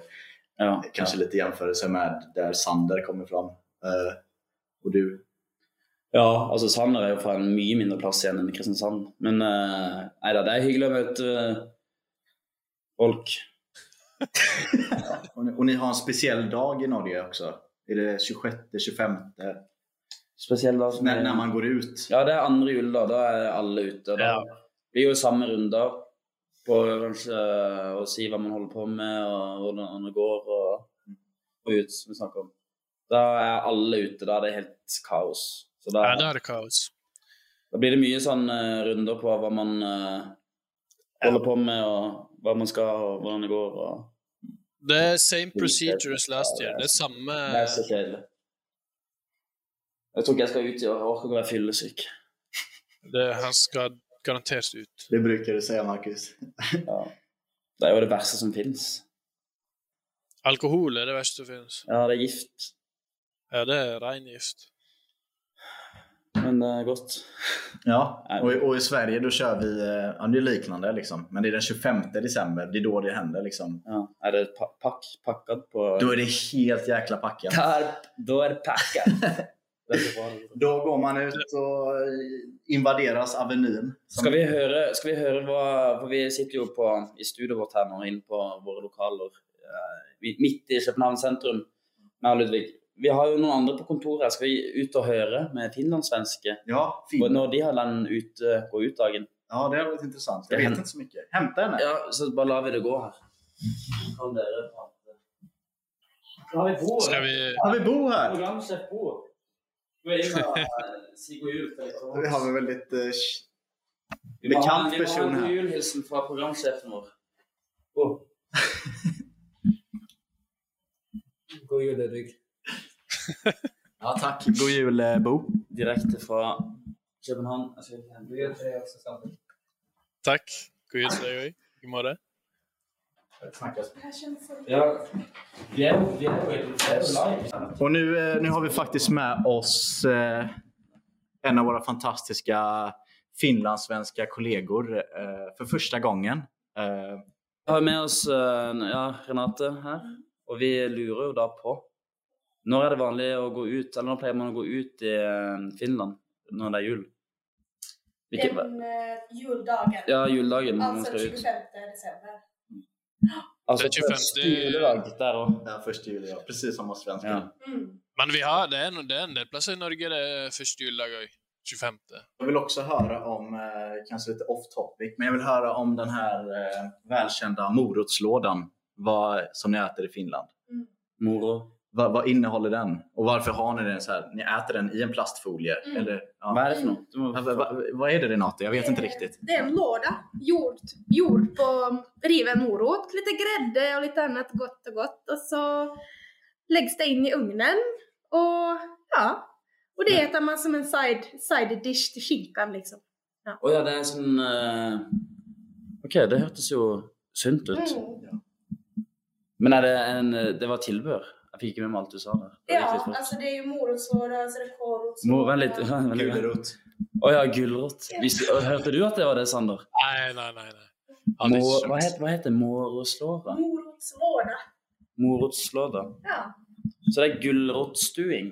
Ja.
Kanske lite jämförelse med där Sander kommer ifrån. Eh, och du
Ja, altså Sander er jo fra en mye mindre plass igjen enn Kristiansand. Men eh, nei da, det er hyggelig å møte eh, folk.
Och ni, och ni har en speciell dag i Norge också. Är det 26, 25?
Spesielt da som
När,
er-
när man går ut.
Ja, det er andre jul, da. Da er alle ute. og Da
Ja.
blir jo samme runder på kanskje eh, å si hva man holder på med, og hvordan det går, og, og ut, som vi snakker om. Da er alle ute. Da er det helt kaos. Så da,
Ja, da er det kaos.
Da blir det mye sånn eh, runder på hva man eh, holder på med, og hva man skal, og hvordan det går. og...
Det er same procedure as last year. Det er samme
Det er så kjedelig. Jeg tror ikke jeg skal ut i år. Jeg orker ikke å være fyllesyk.
det, Han skal garantert ut.
Det brukar du säga Marcus.
Ja. Det er jo det verste som fins.
Alkohol er det verste som finnes.
Ja, det er gift,
Ja, det er rein gift.
men det er godt.
Ja,
Nej.
och, i- och i Sverige då kör vi, eh, ja det är liknande liksom. Men det är den 25 december, det är då det händer liksom.
Ja. Er det pa pakk, pakket på
Då er det helt jäkla packat.
Da er, da er det pakket. Det er så bra.
Då går man ut och eh, invaderas Avenyn. Som-
Skal vi høre, skal vi høre hva For vi sitter jo på, i studioet vårt her nå, inne på våre lokaler eh, vi- midt i København sentrum. Med Ludvig. Vi har jo noen andre på kontoret. Skal vi ut og høre med finlandssvenske?
Ja,
Og
fin.
Når de har den ute, gå ut-dagen.
Ja, det har varit intressant. Jag
Det
vet
händer-
inte så mycket. Hämta henne.
Ja, så bare lar vi det gå her. Kan dere prate? Da har vi bo.
Skal vi
Har vi Bo här?
Programsjef Bo. Du er inne og eh, si god jul. til dere.
Vi har en väldigt eh,
Vi må ha en-
bekant person
Vi må ha
her.
en julhilsen fra programsjefen vår. Bo. <laughs> God jul, Ludvig.
Ja, tack. God jul eh, Bo.
Direkte fra København. Jeg skal hente-
Takk. God jul til deg òg. I morgen.
altså. Ja. Vi er jo vi er jo- vi er jo live.
Och nu, eh, nu har vi faktiskt med oss eh, en av våra fantastiska finlandssvenska kollegor eh, för första gången. Eh,
Vi har med oss eh, ja, Renate her, og vi lurer jo da på Når er det vanlig å gå ut, eller når pleier man å gå ut i eh, Finland når det er jul? Hvilken,
Den eh, juldagen.
ja, juledagen når man
altså
skal ut.
25. desember.
Altså
Det er 25.
første juledag der òg.
Ja, första juli, ja. Precis som oss svenskar.
Ja.
Mm.
Men vi har, det, er, no- det er en del plasser i Norge det er første juledag òg. 25.
Jag vill också höra om, eh, kanske lite off topic, men jag vill höra om den här eh, välkända morotslådan vad, som ni äter i Finland.
Moro.
Vad, vad innehåller den? Och varför har ni den så här? Ni äter den i en plastfolie?
Mm.
Eller, ja.
Hva er det for noe? Du må,
Ja, va- va- vad är det Renate? Jag vet inte riktigt.
Det är en låda gjord, gjord på riven morot, lite grädde och lite annat gott och gott. Och så läggs det in i ugnen. Och ja, och det äter man som en side, side dish til skinkan liksom.
Å ja, det er sånn eh, OK, det hørtes jo sunt
Mm.
ut. Men er det en eh, Det var tilbør. Jeg fikk ikke med meg alt du sa der. Det gikk
Ja, altså-
litt fort.
alltså det är ju morotslåda, alltså det är kålrotslåda.
Mor, vent litt. <laughs> Vent litt.
Gulrot.
Å ja, gulrot. Hvis, å, hørte du at det var det, Sander?
Nei, nei, nei. nei. Ja, det
Må,
er ikke
hva,
sant.
heter, hva heter moroslåra?
Morotslåda.
Morotslåda.
Ja.
Så det er gulrotstuing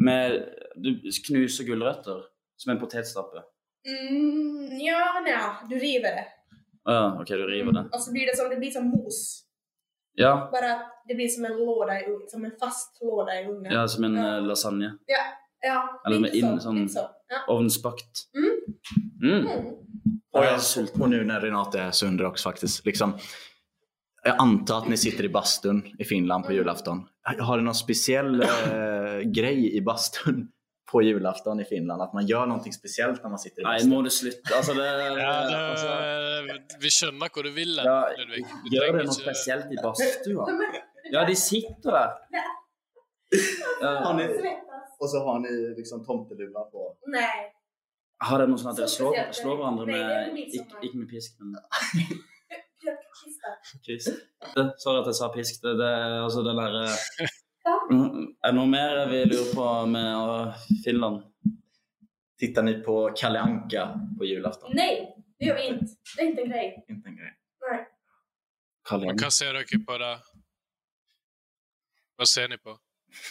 med Du knuser gulrøtter som en potetstappe.
Mm, ja, nja, du river det.
Å Ja, OK, du river det.
Og så blir det som, det blir som mos.
Ja,
Bara att det blir som en låda i ugn- som en fast låda i ugnen.
ja som en eh, lasagne.
ja
Eller med
lite
in- sån-
lite så. Ja.
Ovnsbakt.
Mm.
Mm.
Mm.
Och,
Ja,
jag,
jag är sulten.
och nu när Renate är så undrar jag också faktiskt. Liksom, jag antar att ni sitter i bastun i Finland på
Mm.
julafton. Har ni någon
<laughs>
speciell eh, grej i bastun på julafton i Finland? Att man gör någonting speciellt när man sitter i
Nei,
bastun?
må det slutte. Altså, det,
Ja,
altså,
det, vi skjønner hvor du vil hen,
Ja,
Ludvig. Du
Gjør
trenger
det noe
ikke-
spesielt i
<laughs>
badstua? Ja, de sitter der.
Har
Ja,
ni-
Svettas.
Och så har ni liksom tomteluva på.
Nej.
har dere noe sånn at dere
Så
slår,
spesielt.
slår hverandre
Nei, det er
med
jo litt
ikke,
sånn.
ikke med pisk, men
Jag kan kissa.
kvist? Det- Sorry at jeg sa pisk. Det, det, er altså, det der, eh,
Ja.
Mm, Er det noe mer vi lurer på med å- Finland?
Tittar ni på Kalle Anka på julafton?
Nej, det gör vi inte. Det är inte en grej.
Inte en grej.
Nej.
Kalle?
Men hva ser dere på da? Hva ser ni på?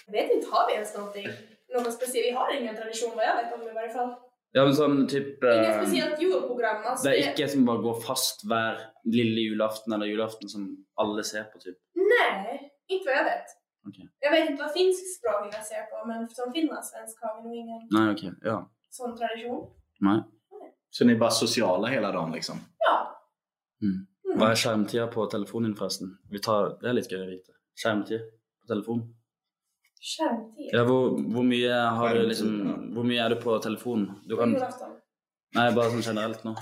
Jag vet inte, har vi ens någonting? Någon speciell? Vi har ingen tradition vad jag vet om i varje fall.
Ja, men sånn typ
Inget
eh,
speciellt julprogram. Alltså,
Det er ikke som bare går fast hver lille julaften eller julaften som alle ser på, typ.
Nej, inte vad jag vet.
Okej.
Jag vet inte vad finskspråkiga ser på, men som finlandssvensk har vi nog ingen
Nei, ok. Ja.
sån tradition.
Nei.
Så ni är bara sociala hela dagen liksom?
Ja.
Mm.
Mm.
Hva er skjermtida på telefonen din, forresten? Vi tar, det er litt gøy å vite. Skjermtid på telefon.
Kärntid.
Ja, hvor, hvor, mye har du liksom, hvor mye er du på telefonen? Du
På
kan,
julafton.
nei, bare sånn generelt nå.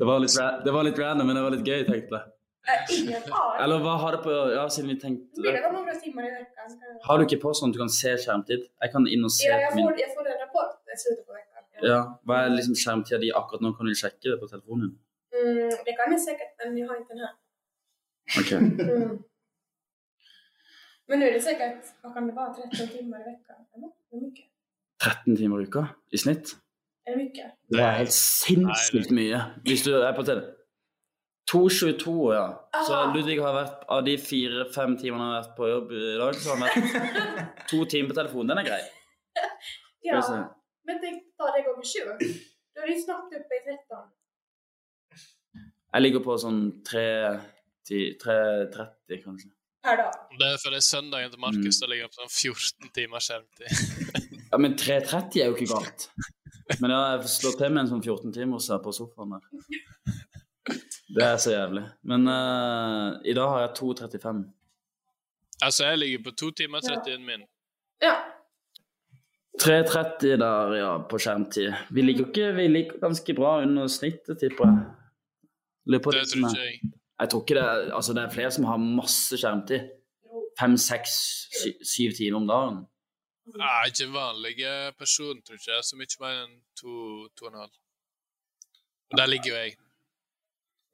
Det var, litt, ra- det var litt random, men det var litt gøy, tenkte jeg.
Äh,
<laughs>
ingen aning.
Eller hva har du på Ja, siden vi
Blir det
tenkte
väl några timmar i veckan? kanske?
Har du ikke på sånn at du kan se skjermtid? Jeg kan inn og se
Ja, jag
på min
får, jag får en rapport i slutet på veckan. Ja.
Ja, Hva er liksom skjermtida di akkurat nå? Kan du sjekke det på telefonen?
Mm, det kan ni säkert, men jag har inte den här.
Ok.
Mm. Men nu är det säkert, vad kan det vara, 13 timmar i veckan? Eller? Är det mycket?
13 timer i uka i snitt?
Är det mycket?
Det er helt sinnssykt mye. Hvis du er på TV. 2.22, ja. Så
Aha.
Ludvig har vært av de fire-fem timene han har vært på jobb i dag, så har han vært to timer på telefon. Den er grei. Skal vi se.
Ja, men tänk ta det gånger 20. Då är det ju snabbt uppe i 13.
Jeg ligger på sånn 3.30, kanskje.
Per dag.
Det er fordi søndagen til
Mm.
Markus da ligger han på sånn 14 timer skjermtid.
Ja, Men 3.30 er jo ikke galt. Men ja, jeg slår til med en sånn 14-timers her på sofaen der. Det er så jævlig. Men eh, i dag har jeg 2.35.
Altså, jeg ligger på 2 timer 31 min.
Ja.
3.30 der, ja, på skjermtid. Vi ligger jo ikke vi ligger ganske bra under snittet, tipper jeg. Lurer på
Det tror ikke
jeg.
jeg.
Jeg tror ikke det er Altså, det er flere som har masse skjermtid. Fem, seks, sy- syv timer om dagen.
Jeg er ikke en vanlig person, tror ikke jeg. Så mye mer enn 2,5. Og der ligger jo jeg.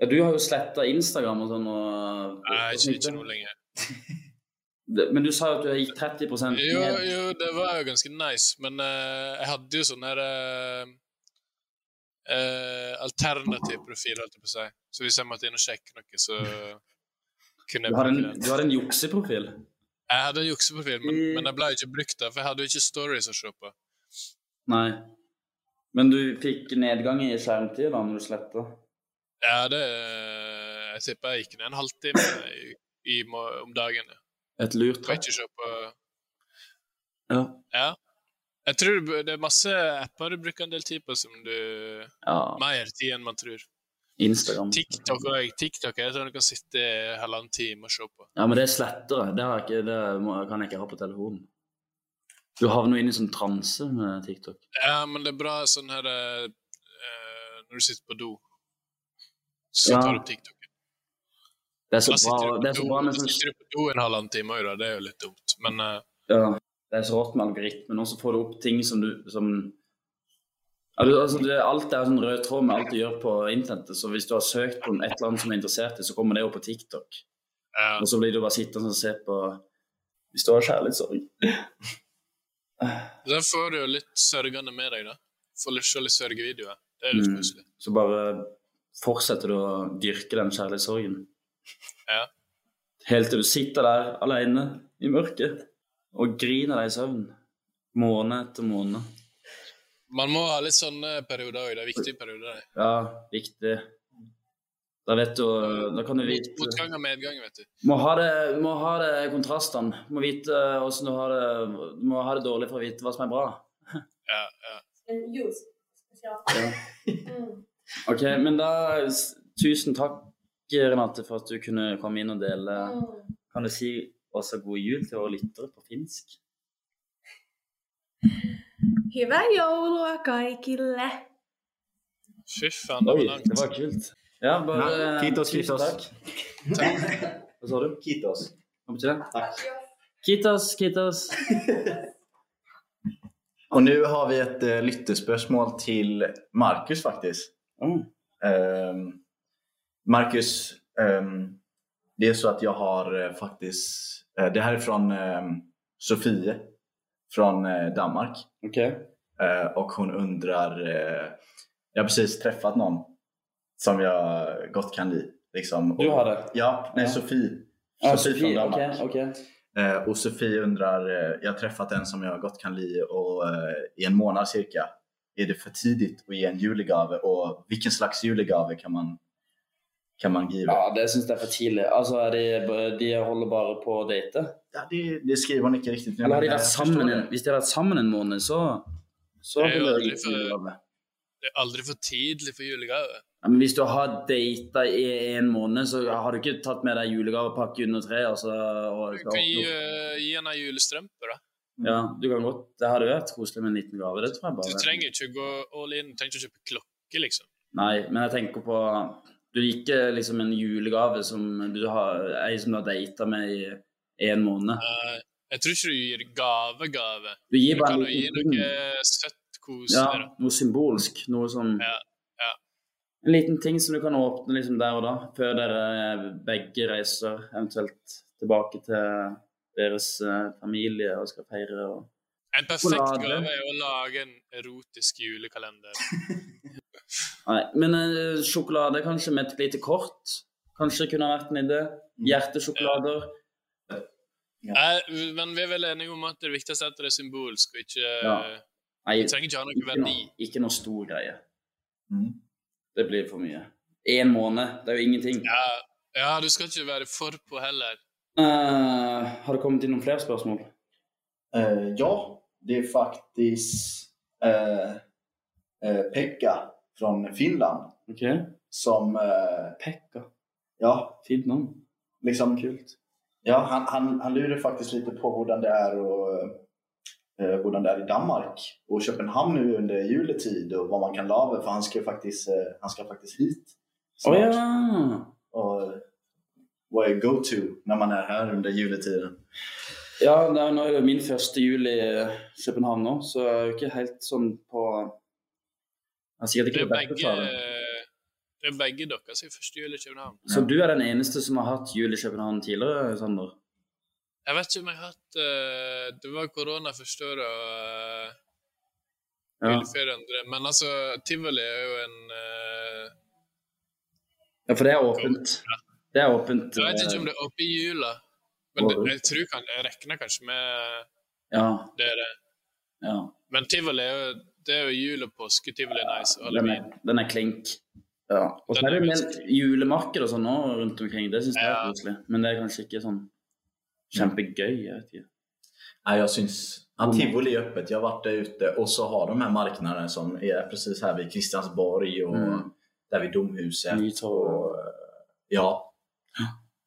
Ja, du har jo sletta Instagram og sånn og
Jeg er ikke, ikke noe lenger.
Det- Men du sa jo at du gikk 30
Jo,
ned.
jo, det var jo ganske nice, men eh, jeg hadde jo sånn her eh, eh, Alternativ profil, holdt jeg på å si. Så hvis jeg måtte inn og sjekke noe,
<laughs>
så kunne
Du
jeg
har en,
bruke den.
du har en jukseprofil.
Jeg hadde en jukseprofil, men, men jeg ble jo ikke brukt der, for jeg hadde jo ikke stories å se på.
Nei. Men du fikk nedgang i skjermtid da når du sletta?
Ja, det eh, Jeg tipper jeg gikk ned en halvtime i, i, må- om dagen. ja.
Et lurt
Jeg får ikke se på
Ja.
Ja. Jeg tror du bu- det er masse apper du bruker en del tid på som du
ja.
Mer tid enn man tror.
Instagram.
TikTok og jeg, TikTok er sånn du kan sitte i halvannen time og se på.
Ja, men det sletter jeg. Det, har jeg ikke, det må, kan jeg ikke ha på telefonen. Du havner jo inn i sånn transe med TikTok.
Ja, men det er bra sånn her eh, eh, Når du sitter på do, så
Ja.
tar du opp TikTok.
Det er så
Da sitter
bra,
du
det er
på do,
så bra
da
med sånn
sitter du på do en halvannen time òg, da. Det er jo litt dumt. Men eh,
ja, Det er så rått med algoritmen, og så får du opp ting som du som ja, du, altså det, Alt er sånn rød tråd med alt du gjør på internettet, så hvis du har søkt på et eller annet som er interessert i, så kommer det jo på TikTok.
ja.
Og så blir du bare sittende og se på Hvis du har kjærlighetssorg.
da får du jo litt sørgende med deg, da. Får litt, se litt sørgevideoer. Det er litt
Mm.
koselig.
Så bare fortsetter du å dyrke den kjærlighetssorgen.
Ja.
Helt til du sitter der alene i mørket og griner deg i søvn. Måned etter måned.
Man må ha litt sånne perioder òg. Det er viktige perioder. det.
Ja, viktig. Da vet du Da kan du vite
Motgang og medgang, vet du.
Må ha det, må ha det kontrastene. Må vite eh, hvordan du har det Du må ha det dårlig for å vite hva som er bra.
Ja, ja.
En juice spesial.
Ja.
Mm.
OK, men da s- Tusen takk, Renate, for at du kunne komme inn og dele.
Mm.
Kan du si også god jul til våre lyttere på finsk?
Hyvää joulua kaikille!
Fy faen, det var langt.
det var kult. Ja, bare eh,
Nei, kitos,
tusen
kitos.
takk. Hva sa du?
Kitos.
Hva betyr det?
Tack.
Kitos, kitos.
Och nu har vi ett eh, lyttespörsmål till Marcus faktiskt.
Mm.
Ehm, Marcus, ehm, det är så att jag har eh, faktiskt, eh, det här är från ehm, Sofie från eh, Danmark.
OK.
Eh, och hon undrar, eh, jag har precis träffat någon som jag gott kan bli. Liksom.
Du
Och-
har det?
Ja, nej
Ja.
Sofie.
Ah,
Sofie
Sofie,
från
OK.
Danmark.
ok.
Eh, och Sofie undrar, eh, jag har träffat en som jag gott kan li och eh, i en månad cirka. Är det för tidigt att ge en julegave och vilken slags julegave kan man, kan man ge? Ja.
Ja, det syns jeg er for tidlig. Altså, er de, de holder bare på å date.
det, det skriver hon inte riktigt. nu,
Eller har de
men,
vært
eh, jag
sammen
förstår
en,
det. Eh,
hvis de har vært sammen en måned, så, så
Det er jo
vil jeg
aldri
ikke
for-
julegave.
Det er aldri for tidlig for julegave.
Ja, men hvis du har data i en måned, så har du ikke tatt med deg julegavepakke under treet. Altså, og,
Du kan gi, eh, gi henne julestrømper, da.
ja, du kan godt. Det hadde vært koselig med en liten gave. Det tror jeg
Du
bare.
trenger ikke gå all in. Du trenger ikke å kjøpe klokke, liksom.
Nei, men jeg tenker på Du liker liksom en julegave som du har, ei som du har data med i en måned.
Eh, jeg tror ikke du gir gave-gave.
Du
Du
gir bare
kan jo
en
gi
liten ting.
noe søtt
Ja,
koselig. da.
noe symbolsk. Noe som
Ja, ja.
En liten ting som du kan åpne liksom der og da, før dere eh, begge reiser eventuelt tilbake til deres eh, familie og skal feire. Og...
En perfekt
Sjokolade.
gave er å lage en erotisk julekalender.
Nei, men eh, sjokolade kanskje med et lite kort. Kanskje kunne ha vært en idé.
Mm.
Hjertesjokolader.
Nei, Eh, men vi er vel enige om at det viktigste er at det er symbolsk, og ikke
Ja. Nei,
Du trenger ikke ha noe
ikke
verdi.
noe, ikke noe stor greie.
Mm.
Det blir for mye. Én måned, det er jo ingenting.
Ja, ja, du skal ikke være for på heller.
Eh, har det kommet inn noen flere spørsmål?
Eh, ja, det är faktiskt eh, eh, Pekka från Finland
Ok,
som, eh,
Pekka.
ja,
Fint navn.
liksom
Kult.
Ja, han, han, han lurer faktiskt lite på hurdan det är och eh, hurdan det är i Danmark och Köpenhamn nu under juletid och vad man kan lava för han ska faktiskt, eh, han ska faktiskt hit
Å
snart.
ja!
Och eh, vad är go-to när man är här under juletiden?
Ja, det er, nå er det jo min første jul i eh, København nå, så jeg er jo ikke helt sånn på eh, Jeg er sikkert
Det
ikke
er
det beste
begge, eh,
for det.
det er begge dere sin første jul i København.
Så du er den eneste som har hatt jul i København tidligere, Sander?
Jeg vet ikke om jeg har hatt eh, Det var korona første året og eh,
Ja,
juleferie andre, men altså, tivoli er jo en eh,
ja for det er åpent. Det er åpent.
Jeg vet ikke om det er oppe i jula, men det,
Året.
jeg tror kan, jeg regner kanskje med
eh, Ja,
det. er det.
ja.
Men tivoli er jo, det er jo jul og påske. Tivoli er nice. og
Den
Halloween.
er, den er klink. Ja. Og så
Den
er det
er
en del julemarked og sånn nå rundt omkring, det syns jeg er
Ja.
koselig. Men det er kanskje ikke sånn kjempegøy, jeg vet ikke.
Nej, jag syns att tivoli är öppet. Jag har varit där ute och så har de här marknaderna som är precis här vid Kristiansborg och
Mm.
där vid Domhuset.
Nytorv.
Och, eh, ja.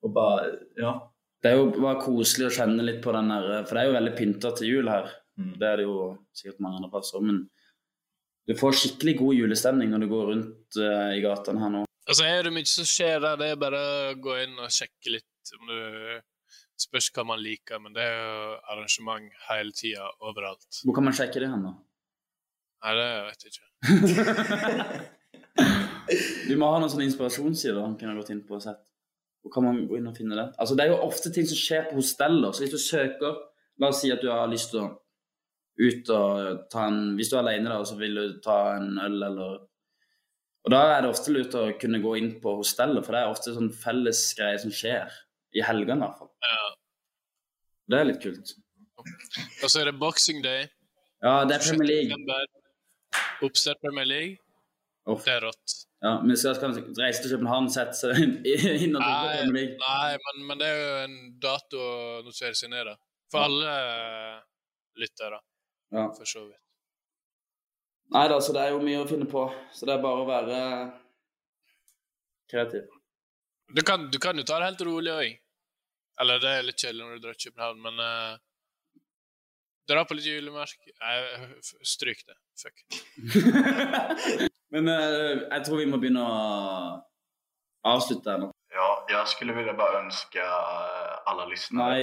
Och bara, ja.
Det er jo bare koselig å kjenne litt på den der For det er jo veldig pynta til jul her.
Mm.
Det er det jo sikkert mange andre plasser òg, men du får skikkelig god julestemning når du går rundt eh, i gatene her nå.
Altså, er det mye som skjer der, det er bare å gå inn og sjekke litt om du eh, Spørs hva man liker, men det er jo arrangement hele tida overalt.
Hvor kan man sjekke det hen, da?
Nei, det vet jeg ikke.
Du må ha noen sånne inspirasjonssider han kunne gått inn på og sett. Hvor kan man gå inn og finne det? Altså, det er jo ofte ting som skjer på hosteller, så hvis du søker La oss si at du har lyst til å ut og eh, ta en Hvis du er alene, da, så vil du ta en øl eller Og da er det ofte lurt å kunne gå inn på hosteller, for det er ofte sånn fellesgreier som skjer. I helgene, i hvert fall. Det er litt kult.
Og så er det Boxing Day.
Ja, det er Premier League.
6. november. Oppstart Premier League.
Uff.
Det er rått.
Ja, men så skal han reise til København, sette seg <laughs> inn og drikke
Nei,
Premier League.
nei men, men det er jo en dato å notere seg ned, da. For alle eh, lyttere,
Ja.
for så vidt.
Nei da, så det er jo mye å finne på. Så det er bare å være <laughs> kreativ.
Du kan, du kan jo ta det helt rolig òg. Eller det er litt kjedelig når du drar til København, men eh, Dra på litt julemark Nei, f- stryk det. Fuck.
Men eh, jeg tror vi må begynne å avslutte her nå.
Ja, jag skulle vilja bara önska eh, alla lyssnare
Nei,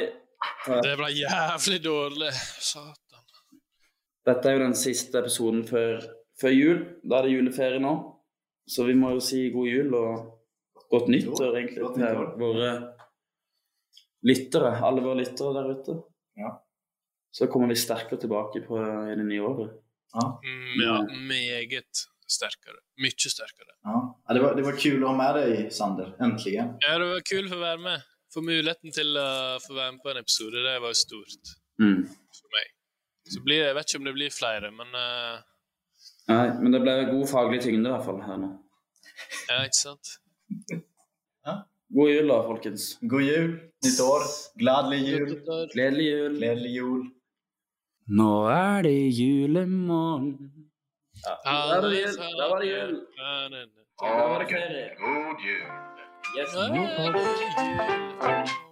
ta-
Det ble jævlig dårlig. Satan.
dette er jo den siste episoden før, før jul. Da er det juleferie nå. Så vi må jo si god jul og godt nyttår, egentlig,
godt
til
nyttår.
våre lyttere. Alle våre lyttere der ute.
Ja.
Så kommer vi sterkere tilbake på, i det nye året.
Mm, ja, meget sterkere. Mye sterkere.
Ja. Ja, det, var, det var kul att ha med dig Sander, äntligen.
Ja, det var kul å få være med. Få muligheten til å få være med på en episode. Det var jo stort
Mm.
for meg. Så blir, jeg vet ikke om det blir flere, men eh,
Nei, men det ble god faglig tyngde i hvert fall her nå.
Ja, ikke sant?
God jul da, folkens.
God jul, nytt år, gladlig jul,
Gledelig jul.
gladlig jul.
Nå er det julemorgen.
Ja,
det jul. Da var det jul.
Ja, det- det-
Da var det ferie.
God jul.
Yes.
Ja, det- det-